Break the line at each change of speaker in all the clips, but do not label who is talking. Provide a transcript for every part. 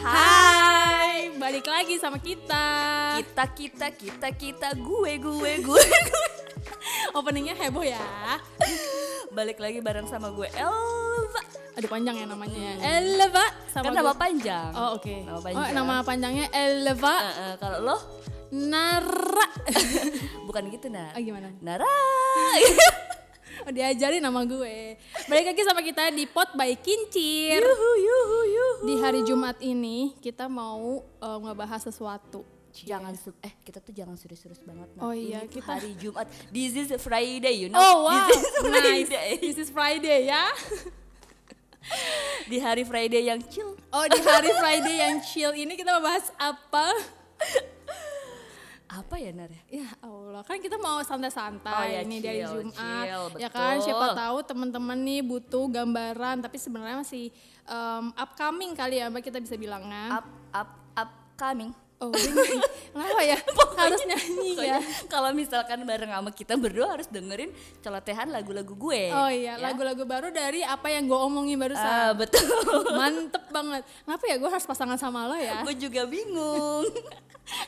Hai, balik lagi sama kita.
Kita kita kita kita gue gue gue.
Openingnya heboh ya.
Balik lagi bareng sama gue Elva.
Aduh panjang ya namanya. Eleva
Hmm.
sama
Kan
gua-
nama panjang.
Oh oke.
Nama
Oh
panjang.
nama panjangnya Eleva
Eh, eh, kalau lo
Nara.
bukan gitu nah.
Ah, gimana?
Nara.
Oh, diajarin nama gue. Balik lagi sama kita di Pot by Kincir.
yuhu yuhu yuhu.
Di hari Jumat ini kita mau eh, ngebahas sesuatu.
Jangan su- eh kita tuh jangan serius-serius banget. Nah.
Oh iya,
Ini tuh
kita-
hari Jumat. This is Friday, you know.
Oh wow,
Nah, This is
nice.
Friday.
This is Friday ya.
Di hari Friday yang chill.
Oh di hari Friday yang chill ini kita membahas apa?
Apa ya Nara?
Ya Allah, kan kita
Oh
mau santai-santai
ya,
ini
chill,
dari Jumat.
chill,
ya kan
betul.
siapa tahu teman-teman nih butuh gambaran tapi sebenarnya masih em, upcoming kali ya Mbak kita bisa bilang kan.
Up up upcoming.
Oh, dia nyanyi. kenapa ya? Harus nyanyi ya.
Pokoknya kalau misalkan bareng sama kita berdua harus dengerin celotehan lagu-lagu gue.
Oh iya,
Ya.
lagu-lagu baru dari apa yang gue omongin barusan.
Ah, betul.
Mantep banget. Kenapa ya gue harus pasangan sama lo ya?
gue juga bingung.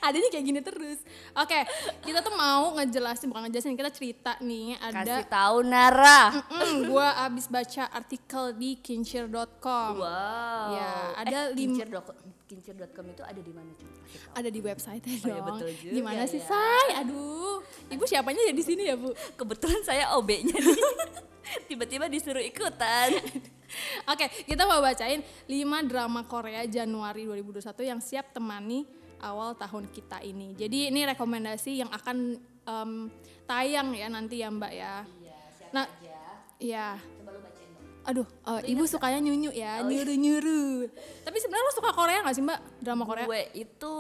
adanya kayak gini terus. Oke, kita tuh mau ngejelasin bukan ngejelasin kita cerita nih
Kasih
ada
tahu Nara.
Mm, gua abis baca artikel di kincir.com.
Wow. Eh,
Ya, ada lim-
kincir.com kincir.com itu ada di mana cuy? Kasih tahu.
Ada di website
Oh iya,
dong.
betul juga
Gimana sih,
ya.
Say? Aduh. Ibu siapanya ya di sini ya, Bu?
Kebetulan saya OB-nya nih. Tiba-tiba disuruh ikutan.
Oke, kita mau bacain 5 drama Korea Januari 2021 yang siap temani awal tahun kita ini. Jadi ini rekomendasi yang akan em, tayang ya nanti ya, Mbak ya. Nah,
ya.
iya. Aduh, eh, ibu sukanya nyunyu
Oh, iya.
ya, nyuru-nyuru. Tapi sebenarnya lo suka Korea gak sih, Mbak? Drama Korea?
gue itu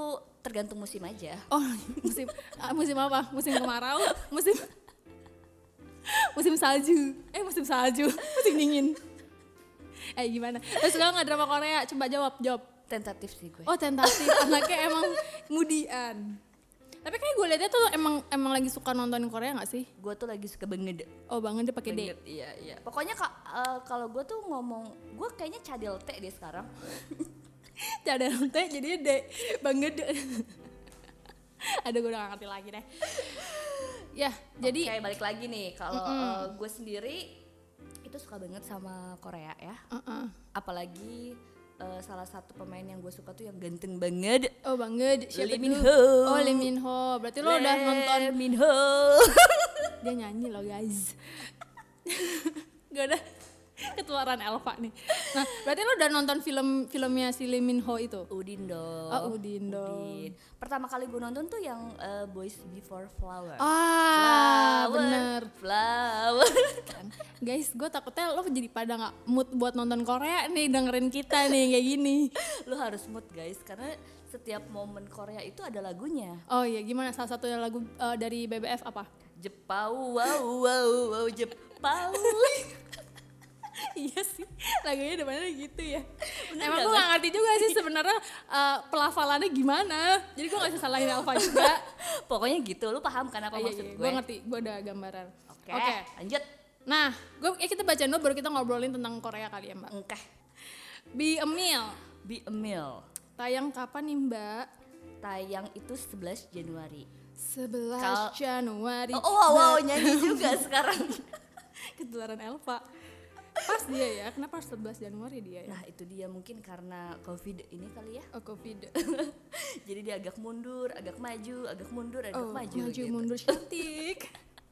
tergantung musim aja.
Oh, musim ah, musim apa? Musim kemarau, musim musim salju. Eh, musim salju, musim dingin. Eh, gimana? Terus suka nggak drama Korea? Coba jawab, jawab.
Tentatif sih gue.
Oh, tentatif. Anaknya emang mudian. Tapi kayak gue liatnya tuh lo emang emang lagi suka nonton Korea nggak sih?
Gue tuh lagi suka banget.
Oh, banget dia pakai D.
Banget, iya, iya. Pokoknya ka- eh, kalau gue tuh ngomong, gue kayaknya cadel teh deh sekarang.
Cadel teh jadinya D. Banget. Aduh, gue udah gak ngerti lagi deh. Ya, jadi
Oke, balik lagi nih kalau eh, gue sendiri itu suka banget sama Korea ya
Uh-uh.
apalagi eh, salah satu pemain yang gue suka tuh yang ganteng banget
Oh banget, siapa
Lee Min
dulu?
Ho.
Oh Lee Min Ho, berarti lo udah nonton
Lee Min Ho
dia nyanyi lo guys. Gak ada ketularan Elva nih. Nah, berarti lo udah nonton film filmnya si Lee Min Ho itu?
Udin dong
Oh, Udin dong.
pertama kali gue nonton tuh yang eh, Boys Before Flower Flower,
Ah, bener.
flower Kan?
Guys, gue takutnya lo jadi pada nggak mood buat nonton Korea nih dengerin kita nih kayak gini.
lu harus mood guys karena setiap momen Korea itu ada lagunya
Oh iya, gimana salah satunya lagu eh, dari BBF apa?
Jepau wow wow wow Jepau
iya sih lagunya depannya gitu ya
gak
emang gue gak ngerti juga sih sebenarnya eh, pelafalannya gimana jadi gue gak bisa salahin Alfa juga
Pokoknya gitu, lu paham kan apa
Iya,
maksud
iya,
gue?
gue ngerti gue udah gambaran
Oke, lanjut.
nah gue ya kita bacain dulu baru kita ngobrolin tentang Korea kali ya mbak
Engkeh.
Be a Meal
Be a Meal.
tayang kapan nih mbak
Tayang itu 11 Januari.
11
Kal-
Januari
Oh, wow, wow, nyanyi juga sekarang.
ketularan Elva pas dia ya kenapa harus 11 Januari dia ya
Nah, itu dia mungkin karena Covid ini kali ya.
oh covid
Jadi dia agak mundur, agak maju, agak mundur, agak
Oh,
maju, gitu.
mundur cantik.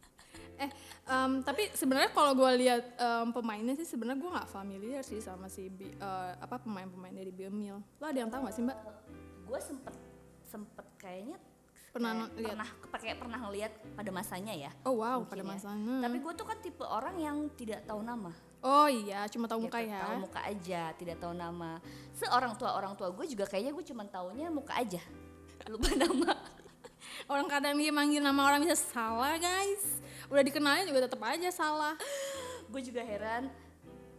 eh, em, tapi sebenarnya kalau gue lihat em, pemainnya sih sebenarnya gue nggak familiar sih sama si Bi- eh, apa pemain-pemain dari Biomil. Lo ada yang tahu nggak sih mbak?
Gue sempet sempet kayaknya kayak
Pernah non- lihat.
pernah kayak pernah ngeliat pada masanya ya.
Oh wow,
mungkin
pada
ya.
masanya.
Tapi gue tuh kan tipe orang yang tidak tahu nama.
oh iya, cuma tahu muka
Gitu,
ya.
Tahu muka aja, tidak tahu nama. Seorang tua orang tua gue juga kayaknya gue cuma taunya muka aja. Lupa nama.
Orang kadang dia manggil nama orang bisa salah guys. Udah dikenalnya juga tetap aja salah.
gue juga heran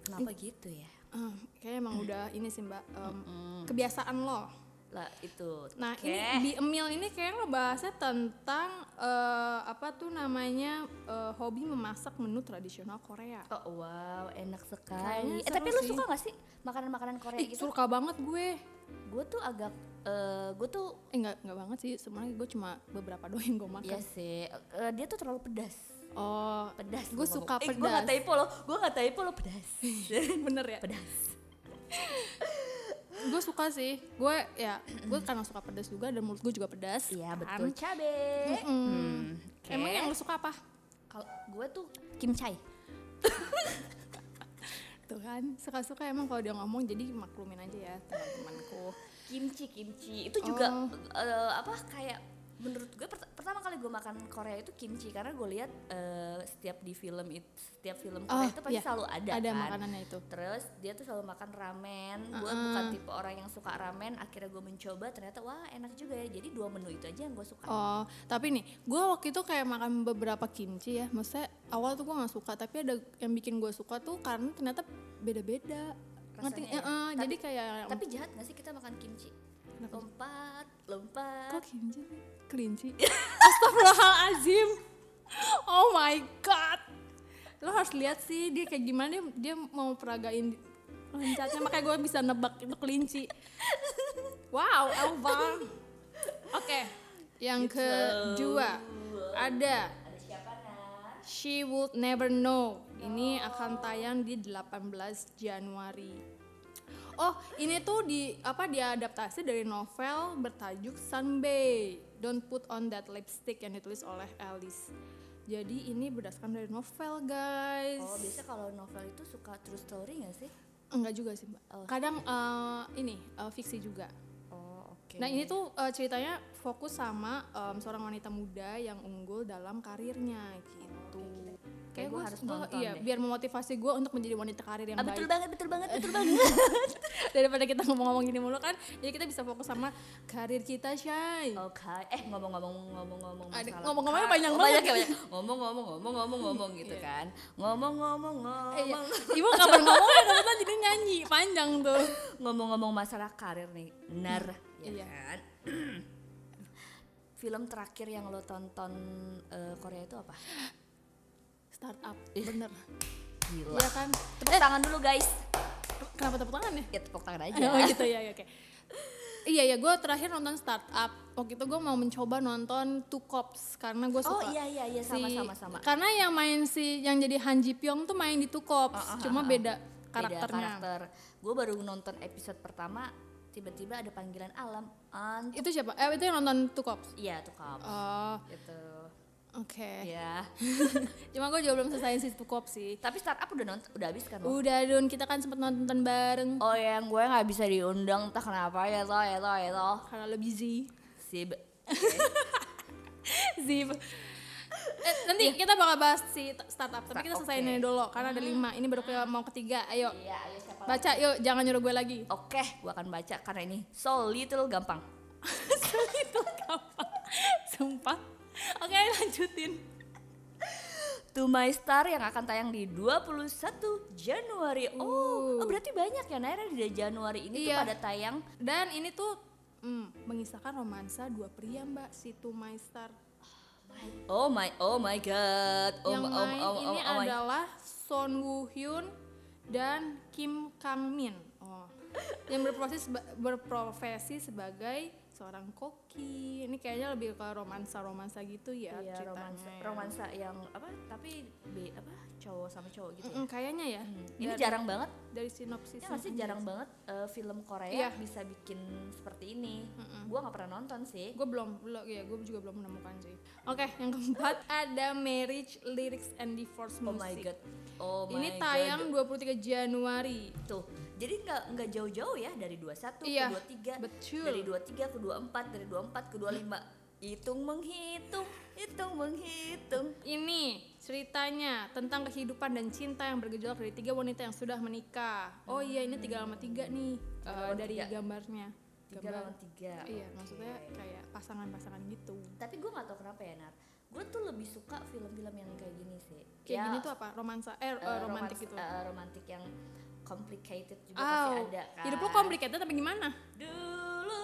kenapa gitu ya?
Eh, kayaknya emang udah ini sih mbak em, kebiasaan lo.
Lah itu.
Nah
Oke.
ini di Emil ini kayaknya ngebahasnya tentang eh, apa tuh namanya eh, hobi memasak menu tradisional Korea.
Oh, wow, enak sekali. Eh,
Kayaknya seru
tapi lu
sih.
suka gak sih makanan-makanan Korea
Ih,
gitu?
suka banget gue.
gue tuh agak eh, gue tuh
Eh enggak enggak banget sih, sebenarnya gue cuma beberapa doang yang gue makan.
ya sih eh, dia tuh terlalu pedas
Oh,
pedas
Gue suka
gue nggak
pedas.
typo loh gue nggak typo loh pedas
bener ya.
pedas
Gue suka sih. Gue ya, gue karena suka pedas juga dan mulut gue juga pedas.
iya
kan.
betul cabe Hmm,
Mm-mm.
oke.
Emang yang lu suka apa?
kalau gue tuh kimchi
Tuh kan, suka-suka emang kalau dia ngomong jadi maklumin aja ya teman-temanku.
kimchi kimchi itu juga
Oh.
eh, apa kayak menurut gue pert- pertama kali gue makan Korea itu kimchi karena gue lihat eh, setiap di film itu setiap film Korea
Oh,
Nah, itu pasti
iya.
selalu ada,
Ada
kan
makanannya itu.
terus dia tuh selalu makan ramen gue
Uh-uh.
bukan tipe orang yang suka ramen akhirnya gue mencoba ternyata wah enak juga ya jadi dua menu itu aja yang gue suka
Oh, tapi nih, gue waktu itu kayak makan beberapa kimchi ya. Maksudnya awal tuh gue nggak suka, tapi ada yang bikin gue suka tuh karena ternyata beda-beda. Ngerti?
Rasanya ya.
Eh, eh, jadi
Tapi-
kayak
tapi jahat gak sih kita makan kimchi
Kenapa?
lompat
kok
lompat
kimchi sih? Kelinci. Astagfirullahalazim. Oh my god. Lo harus lihat sih dia kayak gimana dia, dia mau peragain loncatnya makanya gue bisa nebak itu kelinci. Wow, Elva. Oke, yang
Gitu.
kedua ada
ada siapa Oh. nah
She Would Never Know. Ini akan tayang di 18 Januari. Oh, ini tuh di apa diadaptasi dari novel bertajuk Sunbae. Don't Put on That Lipstick yang ditulis oleh Alice. Jadi ini berdasarkan dari novel, guys.
oh biasa kalau novel itu suka true story gak sih
Enggak juga sih, Mbak.
Oh.
Kadang eh, ini eh, fiksi juga.
oh oke
Nah, ini tuh eh, ceritanya fokus sama em, seorang wanita muda yang unggul dalam karirnya gitu.
Kayak gue harus
gua-
nonton
iya,
deh.
biar memotivasi gue untuk menjadi wanita karir yang
Ah, betul
baik
banget, betul banget, betul banget.
daripada kita ngomong-ngomong gini mulu kan jadi kita bisa fokus sama karir kita Shay
Oke, eh ngomong-ngomong ngomong-ngomong
Ada-
masalah.
ngomong-ngomongnya
kar-
panjang
oh,
banget.
banyak ya, banyak. Ngomong-ngomong ngomong-ngomong ngomong gitu kan. Ngomong-ngomong
Eh, iya.
ngomong.
ibu kapan ngomongnya kan? kebetulan jadi nyanyi panjang tuh
Ngomong-ngomong masalah karir nih. Benar, ya
Iya.
kan? Film terakhir yang lo tonton eh, Korea itu apa?
startup bener
Gila.
iya kan
Tepuk tangan dulu guys.
kenapa tepuk tangan ya
Ya tepuk tangan aja.
oh gitu ya ya, oke iya ya gue terakhir nonton startup waktu itu gue mau mencoba nonton Two Cops karena gue
Oh
suka
iya iya iya sama
si-
sama sama.
karena yang main si yang jadi Han Ji Pyong tuh main di Two
Oh,
Cops cuma beda karakternya
Beda karakter. Gue baru nonton episode pertama tiba-tiba ada panggilan alam. Ant.
itu siapa eh itu yang nonton Two Cops
Iya tuh kamu.
oh
Gitu.
oke
Iya.
Cuma gue juga belum selesai si Tukop sih.
Tapi startup udah nonton, udah habis kan lo?
Udah Dun, kita kan sempet nonton bareng
Oh yang gue nggak bisa diundang entah kenapa ya lo ya lo ya lo.
karena lo busy.
Si B-
Zip. Eh, nanti kita bakal bahas si t- startup, tapi kita
Iya. Oke. Hmm.
selesaiin ini dulu karena ada lima. Ini baru ke mau ketiga. Ayo
Iya, ayo siapa?
baca yuk, jangan nyuruh gue lagi.
Oke, gue akan baca karena ini so little gampang.
Itu apa? Sumpah. Oke lanjutin.
To My Star yang akan tayang di 21 Januari. Oh, oh, berarti banyak ya Naira di Januari ini tuh
Iya.
pada tayang.
Dan ini tuh hmm, mengisahkan romansa dua pria mbak, Situ My Star.
Oh my, oh my god. Oh,
Yang
my- oh,
main
oh, oh,
ini
oh my-
adalah Son Woo Hyun dan Kim Kang Min. Oh. Yang berprofesi seba- berprofesi sebagai seorang koki. Ini kayaknya lebih ke romansa-romansa gitu ya
Iya,
ceritanya.
romansa,
ya.
romansa yang apa? Tapi B, apa? Cowok sama cowok gitu. ya?
Mm-mm, kayaknya ya.
Ini
Dari-
jarang banget
dari sinopsis.
Ya masih jarang banget eh, film Korea
Iya.
bisa bikin seperti ini. Gua nggak pernah nonton sih.
Gue belum, belum ya, gue juga belum menemukan sih. Oke, yang keempat ada Marriage Lyrics and Divorce
Oh
Music.
my god. Oh my
Ini
god.
tayang 23 Januari.
tuh. Jadi nggak nggak jauh-jauh ya dari 21
Iya,
ke 23.
betul.
Dari 23 ke 24, dari 24 ke 25. Hitung menghitung, hitung menghitung.
Ini ceritanya tentang kehidupan dan cinta yang bergejolak dari tiga wanita yang sudah menikah. Oh iya ini tiga sama tiga nih
Tiga
eh,
lawan
dari
tiga.
gambarnya.
Tiga lawan tiga.
Iya
Oke.
maksudnya kayak pasangan-pasangan gitu.
Tapi gue nggak tahu kenapa ya Nar. Gue tuh lebih suka film-film yang kayak gini sih.
Kayak
Ya,
gini tuh apa? Romansa? Eh, eh,
eh,
romantis
romans-
gitu.
eh, romantik yang complicated juga
Aw,
pasti ada kan.
hidup lo complicated tapi gimana?
Dulu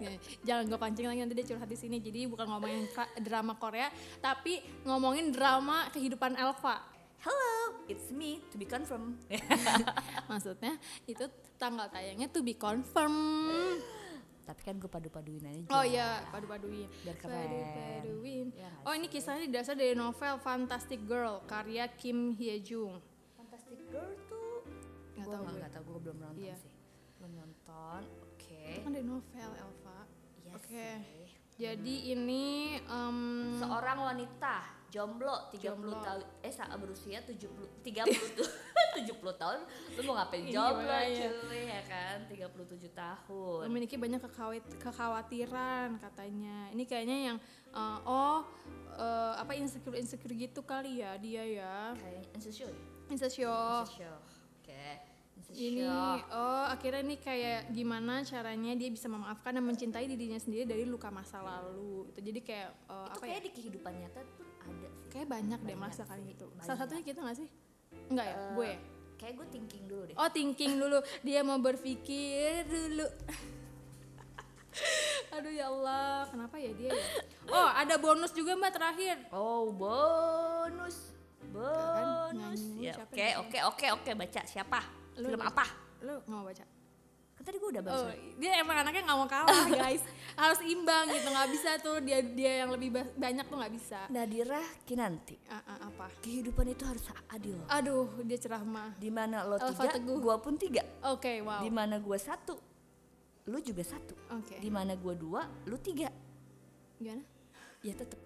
Ya, Jangan gue pancing lagi nanti dia curhat di sini. Jadi bukan ngomongin ka- drama Korea, tapi ngomongin drama kehidupan Elva.
Hello, it's me to be confirmed.
Maksudnya itu tanggal tayangnya to be confirm.
Tapi kan gue padu-paduin aja.
Oh iya, padu-paduin.
Biar keren.
Padu-paduin.
Iya nggak
Oh ini kisahnya didasar dari novel Fantastic Girl karya Kim Hye Jung.
Fantastic Girl tuh
Nggak
gue
tahu gue.
nggak tahu gue belum nonton
Iya.
sih. Belum nonton. Oke.
Kan dari novel Elva.
Iya
Oke.
sih.
Jadi
Hmm.
ini em,
Seorang wanita jomblo 30
Jomblo.
tahun eh saat berusia 70 30 tuh 70 tahun lu mau ngapain
Iya,
jomblo
makanya.
cuy ya kan 37 tahun.
memiliki banyak kekhawat- kekhawatiran katanya. Ini kayaknya yang eh, oh eh, apa insecure insecure gitu kali ya dia ya.
Kayak insecure.
Insecure.
Insecure. Oke.
Oh. Ini
Insecure.
oh akhirnya ini kayak gimana caranya dia bisa memaafkan dan mencintai dirinya sendiri dari luka masa lalu. Itu jadi kayak eh,
Itu
apa ya?
kayak di kehidupan nyata pun ada sih.
Kayak banyak, deh
Banyak
merasakan
sih,
gitu.
banyak.
Salah satunya kita nggak sih? Enggak ya,
Eh,
gue. ya?
Kayak gue thinking dulu deh.
Oh thinking dulu, dia mau berpikir dulu. Aduh ya Allah, kenapa ya dia? Ya? Oh ada bonus juga mbak terakhir.
Oh, bonus.
kan?
Bonus.
Nyanyi
Ya,
siapa
oke,
yang
oke, oke, oke, baca siapa?
Lu
Film
baca.
apa?
Lu nggak mau baca?
Kan tadi gue udah baca.
Oh, dia emang anaknya nggak mau kalah guys. Harus imbang gitu, nggak bisa tuh dia dia yang lebih ba- banyak tuh nggak bisa.
Nadira Kinanti.
Ah, ah, apa?
Kehidupan itu harus adil.
Aduh, dia ceramah.
Di mana lo
Alfa
tiga,
Teguh.
gue pun tiga.
Oke, wow.
Di mana gue satu, lu juga satu.
Oke.
Di mana gue dua, lu tiga.
Gimana?
Ya tetep.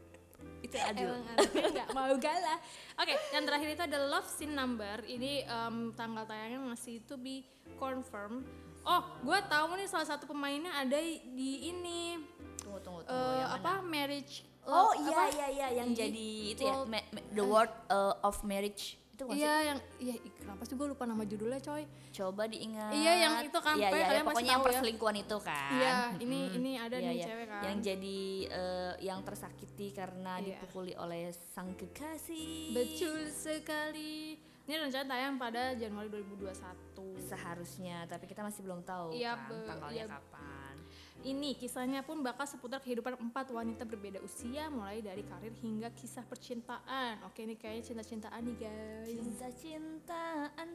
Itu adil.
Emang anaknya nggak mau galah. Oke, yang terakhir itu ada love scene number. Ini em, tanggal tayangnya masih to be confirm. Oh, gue tahu nih salah satu pemainnya ada di ini
Tunggu, tunggu,
eh,
tunggu. Oh, yang mana?
apa marriage.
Oh
Love-
iya
apa?
iya iya yang
Di-
jadi itu ya
World-
ma- ma- the word uh, of marriage itu nggak sih?
Iya yang iya ih, kenapa sih gue lupa nama judulnya coy.
Coba diingat.
Iya, yang itu kan,
Iya
pokoknya
iya,
kalian pasti
pokoknya yang
tahu ya.
perselingkuhan itu kan.
Iya, ini
Mm-mm.
ini ada
Iya,
nih
iya.
cewek kan.
Yang jadi uh, yang tersakiti karena
Iya.
dipukuli oleh sang kekasih.
Betul sekali. Ini rencana tayang pada Januari 2021.
Seharusnya, tapi kita masih belum tahu
Iya,
kan
be-
tanggalnya
iya.
kapan.
Ini kisahnya pun bakal seputar kehidupan empat wanita berbeda usia mulai dari karir hingga kisah percintaan. Oke ini kayaknya cinta-cintaan nih guys.
Cinta cintaan,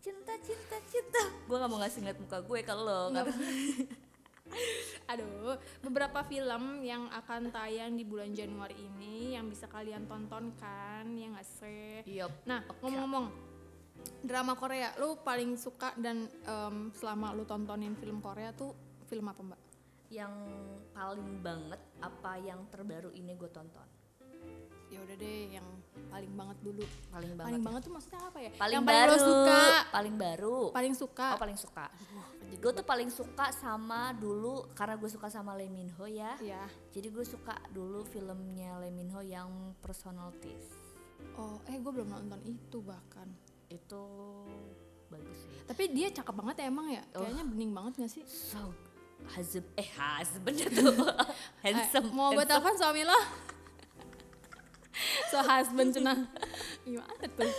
cinta cinta cinta. Gue gak mau ngasih ngeliat muka gue kalau lo
Nggak
nggak-
Aduh, beberapa film yang akan tayang di bulan Januari ini yang bisa kalian tonton kan, ya nggak sih?
Yup.
Nah,
Oke.
ngomong-ngomong drama Korea, lu paling suka dan em, selama lu tontonin film Korea tuh film apa mbak?
yang paling banget apa yang terbaru ini gue tonton
Ya udah deh, yang paling banget dulu.
paling banget
Paling
ya.
banget tuh maksudnya apa ya?
paling
yang
baru
paling lu suka,
paling baru
paling suka.
oh paling suka gue tuh paling suka sama dulu karena gue suka sama Lee Min Ho ya
Ya.
jadi gue suka dulu filmnya Lee Min Ho yang personalities
Oh, eh gue belum nonton itu bahkan.
itu bagus sih
Tapi dia cakep banget ya emang ya. Kayaknya bening banget gak sih?
so husband eh husband tuh handsome
Eh, mau gue
handsome.
telepon suami lo? so husband cuna. Gimana tuh?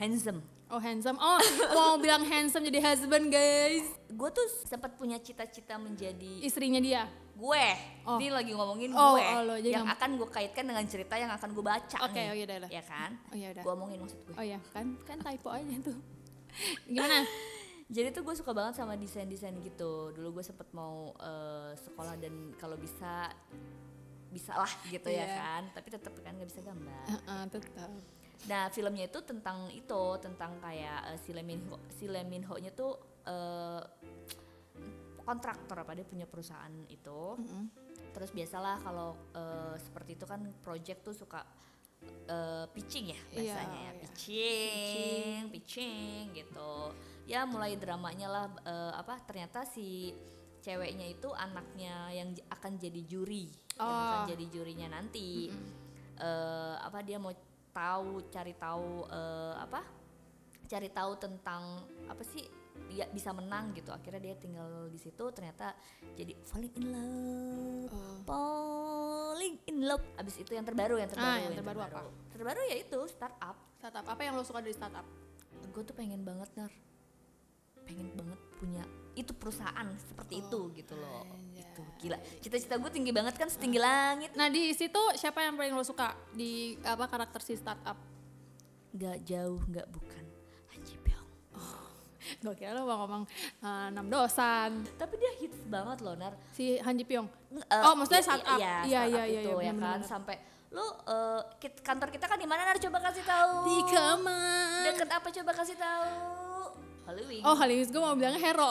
handsome
Oh handsome. Oh mau bilang handsome jadi husband guys.
gue tuh sempat punya cita-cita menjadi
Istrinya dia.
gue
Oh.
ini lagi ngomongin
Oh,
gue
oh, lo jadi
yang
ngom-
akan gue kaitkan dengan cerita yang akan gue baca
Oke,
nih.
oh, iya, udah, udah.
ya kan
Oh, iya, udah.
gue omongin maksud gue
Oh ya kan kan typo aja tuh. Gimana?
jadi tuh gue suka banget sama desain desain gitu dulu gue sempet mau eh, sekolah dan kalau bisa bisa lah gitu ya
Iya. Eh.
kan tapi tetap kan nggak bisa gambar
Heeh, tetap.
Nah filmnya itu tentang itu tentang kayak eh, si Lee Min Ho, si Lee Min Ho nya tuh eh, kontraktor apa dia punya perusahaan itu. Terus biasalah kalau eh, seperti itu kan project tuh suka eh, pitching ya biasanya ya
iya.
pitching, pitching, gitu. Ya mulai dramanya lah eh, apa ternyata si ceweknya itu anaknya yang j- akan jadi juri, yang akan
Oh.
jadi jurinya nanti eh, apa dia mau tahu cari tahu eh, apa cari tahu tentang apa sih dia bisa menang gitu akhirnya dia tinggal di situ ternyata jadi falling in love
Oh.
falling in love abis itu yang terbaru yang terbaru
Ah, yang terbaru apa?
terbaru ya itu startup
Startup apa yang lo suka dari startup?
gue tuh pengen banget nar pengen banget punya itu perusahaan seperti itu
Oh,
gitu loh
iya,
itu gila cita-cita gue tinggi banget kan setinggi langit
Nah di situ siapa yang paling lo suka di apa karakter si startup?
nggak jauh nggak bukan Han Ji Pyong
Gak kira lo mau ngomong eh, enam dosan
tapi dia hits banget loh nar
si Han Ji Pyong.
Nge-
Oh, maksudnya
iya-
saat
iya-
up.
iya,
Iya,
saat
iya,
up
iya,
itu
iya,
ya kan
benar-benar.
sampai lu eh, kit- kantor kita kan di mana nar coba kasih tahu
Di Kemang.
deket apa coba kasih tahu Halloween
Oh kali ini gue mau bilangnya Hero.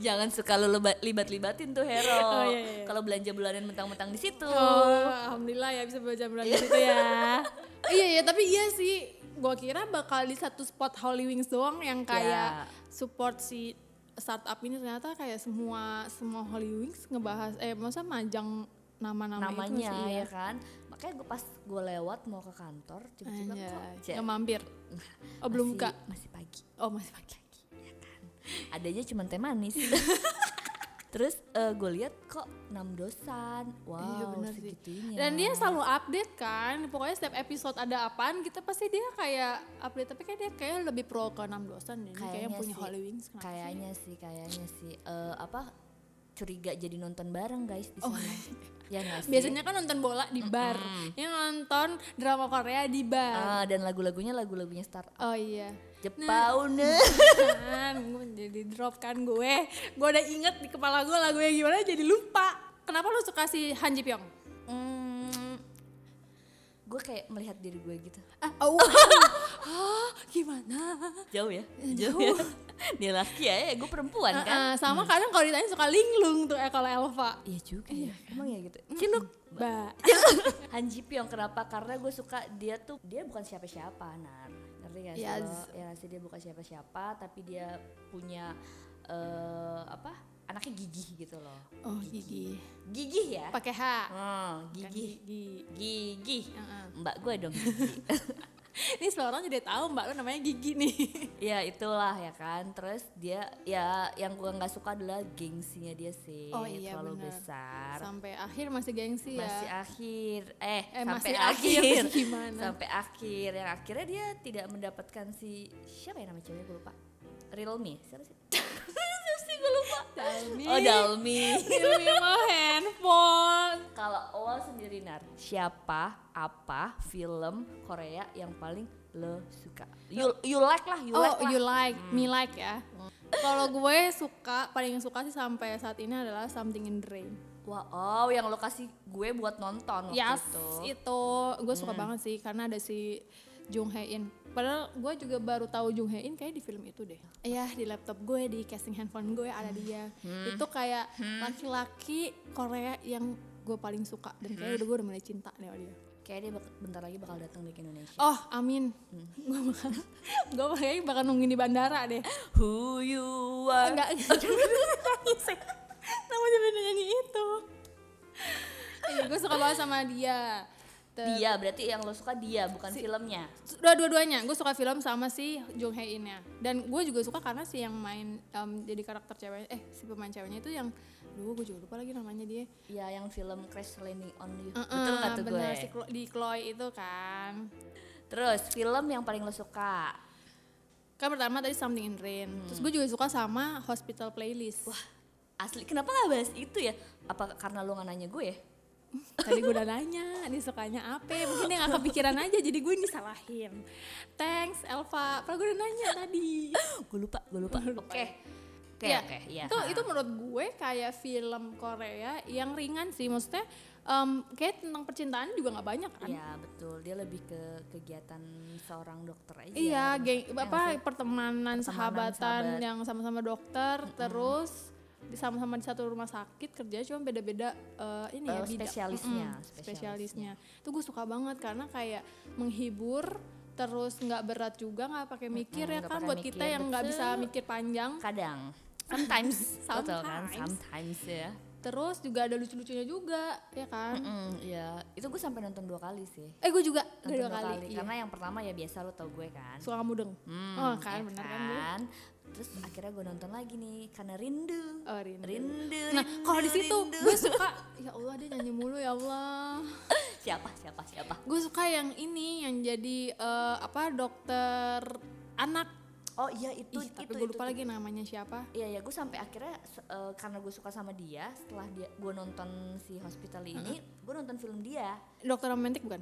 jangan suka lu leba- libat-libatin tuh Hero
Oh, iya, iya.
kalau belanja bulanan mentang-mentang di situ
Oh, alhamdulillah ya bisa belajar berani gitu ya. iya ya, tapi iya sih. Gua kira bakal di satu spot Holy Wings doang yang
Ya.
kayak support si startup ini ternyata kayak semua semua Holy Wings ngebahas eh masa majang nama-nama itu
namanya
sih iya.
ya kan makanya gue pas gue lewat mau ke kantor tiba-tiba kok
Anjay,
cek,
nggak mampir. Oh belum
masih-
buka.
masih pagi Iya kan?
Oh masih pakai.
adanya cuma teh manis terus gue lihat kok enam dosan wow
Iya benar sih.
segitunya
Dan dia selalu update kan. Pokoknya setiap episode ada apaan kita pasti dia kayak update. Tapi kayak dia kayak lebih pro ke enam dosan deh. Dia Kayak yang punya
sih,
Holy Wings. kenapa sih?
kayaknya sih kayaknya sih Eh, apa curiga jadi nonton bareng guys di sana ya nggak sih?
Oh, Biasanya kan nonton bola di bar. Ini nonton drama Korea di bar.
Ah, dan lagu-lagunya lagu-lagunya startup
Oh iya.
Jepang
Nah.
Nah.
kan gue jadi drop kan gue. Gue udah inget di kepala gue lagunya gimana jadi lupa. Kenapa lu suka si Han Ji Pyong?
gue Hmm. kayak melihat diri gue gitu
Ah, oh, wow. Hah, gimana?
jauh ya jauh ya dia laki ya, ya gue perempuan kan
Ah, ah, sama kadang kalau ditanya suka linglung tuh eh kalau Elva.
Iya juga ya.
kan?
Emang ya gitu. Ciluk.
Mbak.
Han Ji Pyong kenapa? Karena gue suka dia tuh dia bukan siapa-siapa, Nar. Ngerti gak sih?
Iya,
lo?
z-
Ya nggak sih dia bukan siapa-siapa, tapi dia punya eh apa? Anaknya gigih gitu loh.
Oh gigi.
Gigih ya?
Pakai H.
Hmm,
Bukan
gigih.
gigi.
Gigih.
Kan Heeh.
Mbak gue dong. gigih.
Ini semua orang jadi tahu Mbak lu namanya Gigi nih.
ya itulah ya kan. Terus dia ya yang gue nggak suka adalah gengsinya dia sih.
Oh, iya,
terlalu
benar.
besar.
Sampai akhir masih gengsi ya.
masih akhir Iya. eh,
Eh,
sampai
masih akhir,
akhir,
gimana?
sampai akhir yang akhirnya dia tidak mendapatkan si siapa ya nama ceweknya gue lupa Realme siapa sih siapa sih gue lupa
Dalmi.
oh Dalmi
Dalmi mau handphone.
kalau awal sendiri nar siapa apa film Korea yang paling lo suka you you like lah you
oh
like lah Hmm.
you like, me like ya. Kalau gue suka, paling suka sih sampai saat ini adalah Something in the Rain.
wah oh yang lo kasih gue buat nonton waktu
Yes,
itu
Ya, itu Hmm. gue suka banget sih karena ada si Jung Hae In. Padahal gue juga baru tahu Jung Hae In kayak di film itu deh. Hmm. Iya di laptop gue di casing handphone gue ada dia. Itu kayak laki-laki Korea yang gue paling suka dan kayaknya udah gue udah mulai cinta nih sama dia.
kayak dia bak- bentar lagi bakal datang deh ke Indonesia
Oh amin. Gue bakal gue kayaknya bakal nungguin di bandara deh.
who you are
Enggak. Namanya bener nyanyi itu. Iya, gue suka banget sama dia. Terus-
dia berarti yang lo suka dia bukan filmnya
Dua- dua-duanya gue suka film sama si Jung Hae Innya dan gue juga suka karena si yang main em, jadi karakter ceweknya eh si pemain ceweknya itu yang dulu gue juga lupa lagi namanya dia
ya yang film Crash Landing on You
Heeh,
betul nggak tuh
bener,
gue
si Chlo- di Chloe itu kan
terus film yang paling lo suka
kan pertama tadi Something in Rain
Hmm.
terus gue juga suka sama Hospital Playlist wah
asli kenapa nggak bahas itu ya apa karena lo nggak nanya gue ya
tadi gue udah nanya ini sukanya apa mungkin dia gak kepikiran aja jadi gue ini salahin thanks Elva padahal gue udah nanya tadi
gue lupa gue lupa oke
Lu lupa.
oke oke ya
Iya, Itu itu menurut gue kayak film Korea yang ringan sih, maksudnya em, kayak tentang percintaan juga nggak banyak kan?
Iya betul dia lebih ke kegiatan seorang dokter aja
Iya,
Maksud-
geng, apa
ya nggak sih?
pertemanan, sahabatan
sahabat.
yang sama-sama dokter, terus di- sama-sama di satu rumah sakit kerja cuma beda-beda eh, ini ya
Eh,
bidang.
spesialisnya,
Mm-mm, spesialisnya. Itu gue suka banget karena kayak menghibur terus nggak berat juga nggak pakai mikir
Mm-mm,
ya
nggak
kan
pakai
buat kita
mikir,
yang nggak bisa
betul.
mikir panjang
kadang sometimes Lo tau kan
Sometimes.
sometimes ya
terus juga ada lucu-lucunya juga ya kan
Mm, Iya itu gue sampai nonton dua kali sih
Eh gue juga
Nonton
dua, kali. iya.
karena yang pertama ya biasa lo tau gue kan
suka mudeng.
Hmm,
oh kan
ya
bener kan gue.
kan? Terus akhirnya gue nonton lagi nih karena rindu.
Oh, rindu.
Rindu.
Nah
rindu,
kalau di situ
rindu.
gue suka ya Allah dia nyanyi mulu ya Allah.
siapa siapa siapa?
Gue suka yang ini yang jadi eh, apa dokter anak.
Oh iya itu
Ih, tapi
itu
gue
itu, itu.
lupa lagi namanya siapa.
Iya ya gue sampai akhirnya se- eh, karena gue suka sama dia setelah dia gue nonton si hospital ini gue nonton film dia
Dokter romantik bukan?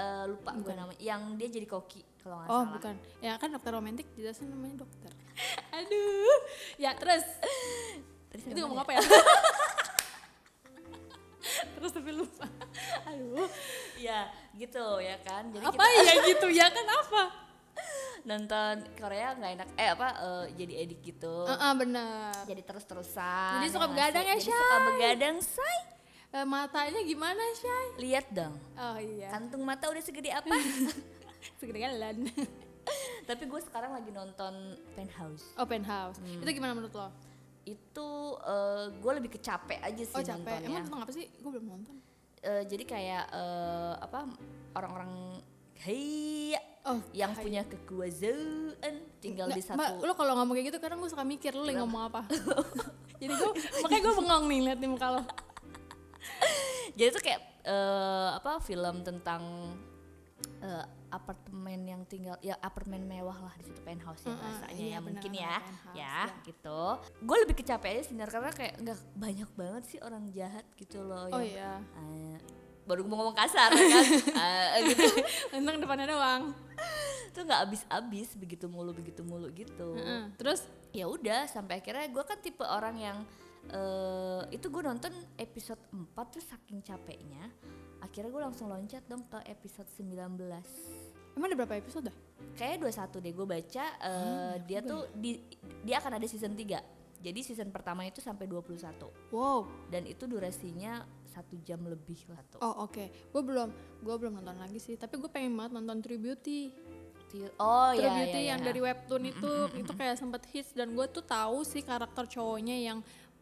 eh, lupa gue
Bukan.
namanya yang dia jadi koki kalau nggak
Oh
salah
bukan, ya kan dokter romantik jelasin namanya dokter.
aduh
Ya terus
Tadi saya
itu ngomong apa ya? terus tapi lupa. Aduh,
ya gitu ya kan jadi
apa
kita
ya gitu ya kan apa?
nonton Korea nggak enak eh apa eh, jadi edik gitu
Heeh benar.
jadi terus-terusan
Jadi suka
ya nggak
begadang
sih?
ya,
jadi suka
Shay?
begadang say
Eh, matanya gimana Shay?
lihat dong
Oh iya.
kantung mata udah segede apa
segede galan.
tapi gue sekarang lagi nonton penthouse
Open house.
Hmm.
Itu gimana menurut lo?
itu eh, gue lebih kecapek aja sih
Oh capek.
nontonnya
Emang tentang apa sih? Gue belum nonton.
Eh, jadi kayak eh, apa orang-orang hei
Oh,
yang
hai.
punya kekuasaan tinggal di
Nggak, Mbak,
satu
lo kalau ngomong kayak gitu kadang gue suka mikir lo lagi ngomong apa. Jadi gue makanya gue bengong nih liat nih muka lo.
jadi itu kayak eh, apa film tentang eh, apartemen yang tinggal ya apartemen mewah lah di situ penthouse ya
Mm-mm,
rasanya
iya,
ya
bener,
mungkin
bener,
ya
penthouse,
ya
ya.
gitu gue lebih kecapek aja sinar karena kayak nggak banyak banget sih orang jahat gitu loh
Oh
yang, eh,
iya.
baru mau ngomong kasar kan Eh, gitu
Tentang Oh, iya. depannya doang.
tuh nggak habis-habis begitu mulu begitu mulu gitu
Heeh. Terus
ya udah sampai akhirnya gue kan tipe orang yang eh itu gue nonton episode 4 tuh saking capeknya akhirnya gue langsung loncat dong ke episode 19
emang ada berapa episode dah?
kayak 21 deh gue baca
Oh,
eh,
iya,
dia tuh di- dia akan ada season 3 jadi season pertama itu sampai 21
Wow.
dan itu durasinya satu jam lebih lah tuh
Oh oke. Gue belum gue belum nonton lagi sih. Tapi gue pengen banget nonton True Beauty.
Ti- oh
True
ya, ya,
Beauty
ya.
Iya. yang dari webtoon itu itu kayak sempet hits dan gue tuh tahu sih karakter cowoknya yang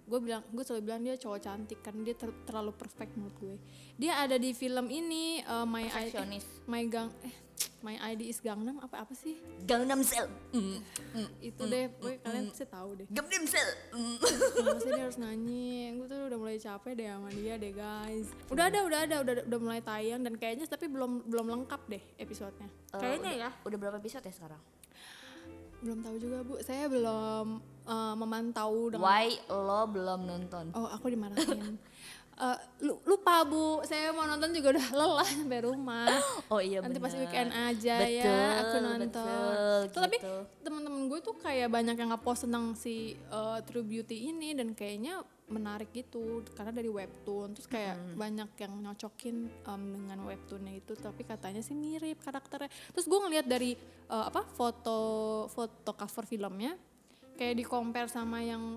gue bilang gue selalu bilang dia cowok cantik kan dia ter- terlalu perfect menurut gue dia ada di film ini eh, my I-
Perfeksionis.
my gang eh, my ID is Gangnam apa apa sih
Gangnam Cell Mm, mm,
itu deh gue kalian pasti tahu deh
Gangnam Cell mm.
Kenapa sih dia harus nyanyi? Gue tuh udah mulai capek deh sama dia deh guys. Udah ada, udah ada, udah udah mulai tayang dan kayaknya tapi belum belum lengkap deh episodenya.
Eh,
kayaknya
udah-
ya.
udah berapa episode ya sekarang
Belum tahu juga bu. Saya belum eh, memantau dengan.
Why lo belum nonton?
Oh aku dimarahin. Eh, lu- lupa bu, saya mau nonton juga udah lelah sampai rumah.
Oh iya
Nanti pas
bener.
weekend aja ya
Betul,
aku nonton.
betul,
Tuh, Tapi
gitu.
teman-teman gue tuh kayak banyak yang ngepost tentang si uh, True Beauty ini dan kayaknya menarik gitu karena dari webtoon terus kayak banyak yang nyocokin um, dengan webtoonnya itu tapi katanya sih mirip karakternya terus gue ngeliat dari uh, apa foto foto cover filmnya kayak di compare sama yang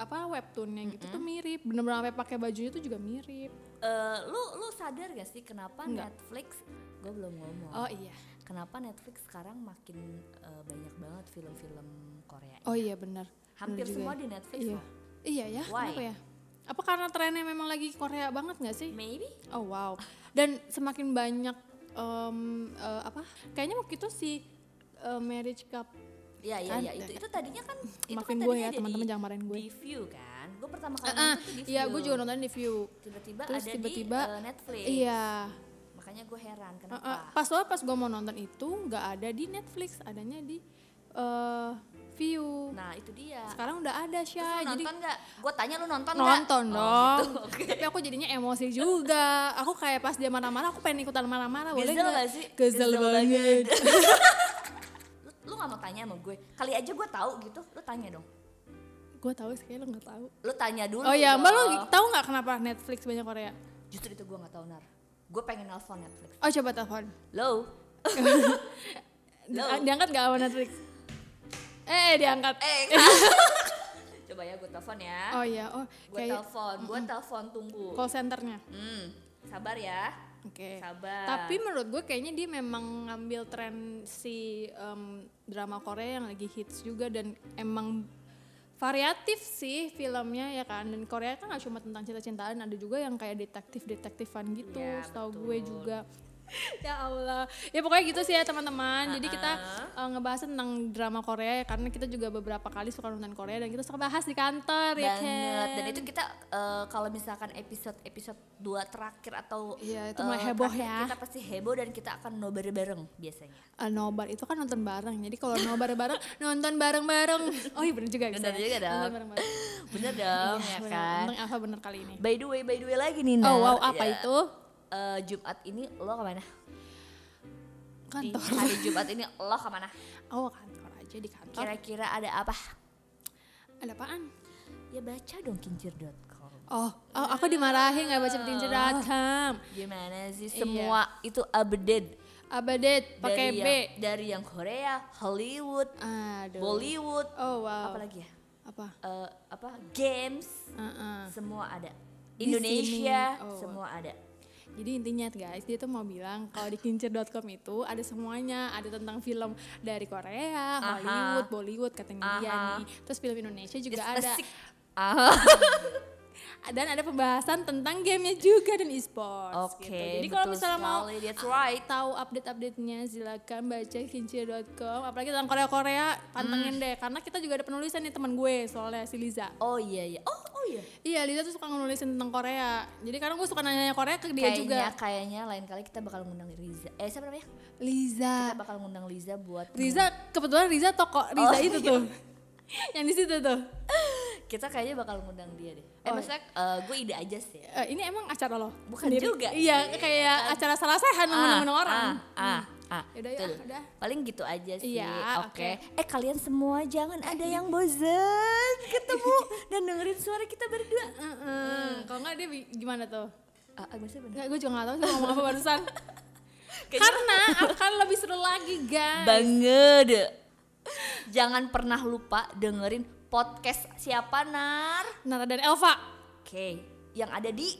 apa webtoonnya gitu tuh mirip bener-bener sampai pakai bajunya tuh juga mirip
Eh, lu lu sadar gak sih kenapa
Enggak.
Netflix gue belum ngomong.
oh iya
Kenapa Netflix sekarang makin eh, banyak banget film-film Korea?
oh iya benar
Hampir
Bener juga
semua
ya.
di Netflix
Iya.
loh.
Iya ya,
Why?
kenapa ya? Apa karena trennya memang lagi Korea banget nggak sih?
Maybe
Oh wow. Dan semakin banyak em, eh, apa? Kayaknya waktu itu si eh, marriage cup
Ya ya
Kan,
ya itu itu tadinya kan itu kan
Maafin gue
tadinya
ya,
ada
teman-teman,
di-
jangan marahin gue.
Di view kan. Gue pertama kali
Ah,
nonton tuh di view.
Iya, gue juga nonton di view.
Tiba-tiba
Terus
ada
tiba-tiba,
di eh, Netflix.
Iya.
Makanya gue heran
Eh, eh,
kenapa.
pas lo pas gue mau nonton itu nggak ada di Netflix, adanya di eh, view.
Nah, itu dia.
Sekarang udah ada
Terus
Syah.
lu
Jadi
nonton nggak? Gue tanya lu nonton nggak?
nonton
Oh,
dong.
gitu, oke.
Tapi aku jadinya emosi juga. Aku kayak pas dia marah-marah, aku pengen ikutan marah-marah. Boleh
Gazel
nggak?
gak sih?
Gazel
Gazel
banget.
lu, lu gak mau tanya sama gue kali aja gue tahu gitu lu tanya dong
gue tahu sih, kayaknya lo nggak tahu.
lu tanya dulu
Oh iya, mbak lo
dong.
tahu nggak kenapa Netflix banyak Korea?
justru itu gue nggak tahu nar gue pengen nelfon Netflix
Oh coba telepon.
lo
Di-
Halo.
Diangkat nggak sama Netflix? Eh diangkat.
eh coba ya gue telepon ya
Oh iya, oh
gue
kayak
telepon gue telepon tunggu
call centernya.
hmm sabar ya
Oke.
sabar
Eh, Tapi menurut gue kayaknya dia memang ngambil tren si em, drama Korea yang lagi hits juga dan emang variatif sih filmnya ya kan. Dan Korea kan gak cuma tentang cinta-cintaan, ada juga yang kayak detektif-detektifan gitu.
Iya,
setahu
betul.
gue juga. ya Allah. Ya pokoknya gitu sih ya teman-teman. Jadi kita eh, ngebahas tentang drama Korea ya karena kita juga beberapa kali suka nonton Korea dan kita suka bahas di kantor ya
banget
kan.
dan itu kita eh, kalau misalkan episode episode dua terakhir atau
Iya, itu
eh,
mulai heboh
terakhir,
ya.
kita pasti heboh dan kita akan nobar bareng biasanya
Eh, nobar itu kan nonton bareng jadi kalau nobar bareng nonton bareng bareng oh iya bener juga
Bener
bisa ya.
juga dong.
nonton Iya, bareng bareng
bener dong ya kan iya.
Untung Alfa bener kali ini
By the way, by the way lagi nih. Ya. Nar.
oh wow apa
Ya,
itu
eh, Jumat ini lo kemana? di
Kantor.
hari Jumat ini lo kemana?
Oh kantor aja di kantor.
Kira-kira ada apa?
Ada apaan?
Ya baca dong kincir.com.
Oh, oh aku dimarahin nggak baca
Oh.
petinju.com.
Gimana sih semua itu update
Update Iya. pakai
dari
B.
yang, dari yang Korea, Hollywood,
Aduh.
Bollywood,
Oh wow.
apalagi ya?
Apa?
Eh, apa? Games,
Uh-uh.
semua ada.
Di
Indonesia,
sini. Oh.
semua ada.
Jadi intinya guys, dia tuh mau bilang kalau di kincir.com itu ada semuanya, ada tentang film dari Korea,
Aha.
Hollywood, Bollywood katanya dia
Aha.
nih. Terus film Indonesia juga
It's
ada. Oh,
asik. Ah.
Dan ada pembahasan tentang gamenya juga dan e-sports
Oke,
gitu. Jadi kalau
betul
misalnya mau
sekali. That's right.
tahu update-update-nya silakan baca kincir.com. Apalagi tentang Korea-Korea, pantengin
Hmm.
deh karena kita juga ada penulisan nih teman gue soalnya si Liza.
Oh iya iya. Oh oh iya.
Iya, Liza tuh suka nulisin tentang Korea. Jadi kadang gue suka nanya Korea ke dia
kayaknya
juga.
kayaknya lain kali kita bakal ngundang Riza. Eh siapa namanya? Kita
Liza.
bakal ngundang Liza buat
Riza kebetulan Riza toko Riza
Oh,
itu tuh. Yang di situ tuh.
kita kayaknya bakal ngundang dia deh. Eh
Oh.
maksudnya eh, gue ide aja sih.
Eh, ini emang acara lo?
Bukan juga
Iya,
sih,
kayak acara salah sehan ngomong orang.
Ah, ah, ah.
Yaudah, ya,
Betul.
udah.
Paling gitu aja sih.
Iya,
oke. Eh kalian semua jangan ada yang bosen ketemu dan dengerin suara kita berdua.
Heeh.
Hmm.
Kalau nggak dia bi- gimana tuh?
Ah, ah, maksudnya bener.
Enggak, gue juga nggak tahu sih ngomong apa barusan.
Kayaknya-
Karena akan lebih seru lagi, guys.
Banget. Jangan pernah lupa dengerin podcast siapa Nar?
Nara dan Elva.
Oke, yang ada di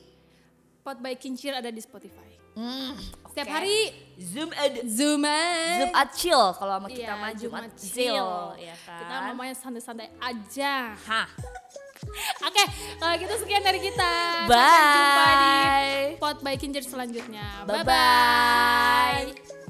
Pot by Kincir ada di Spotify.
Hmm,
Setiap
oke.
hari
Zoom ad
Zooman.
Zoom ad chill kalau sama kita
Eh. Iya,
mah Jumat
Jumat
chill,
chill.
ya kan.
Kita ngomongnya santai-santai aja.
Hah.
Oke, kalau gitu sekian dari kita. Sampai jumpa di
Bye.
Pot by Kincir selanjutnya.
Bye
Bye-bye.
bye.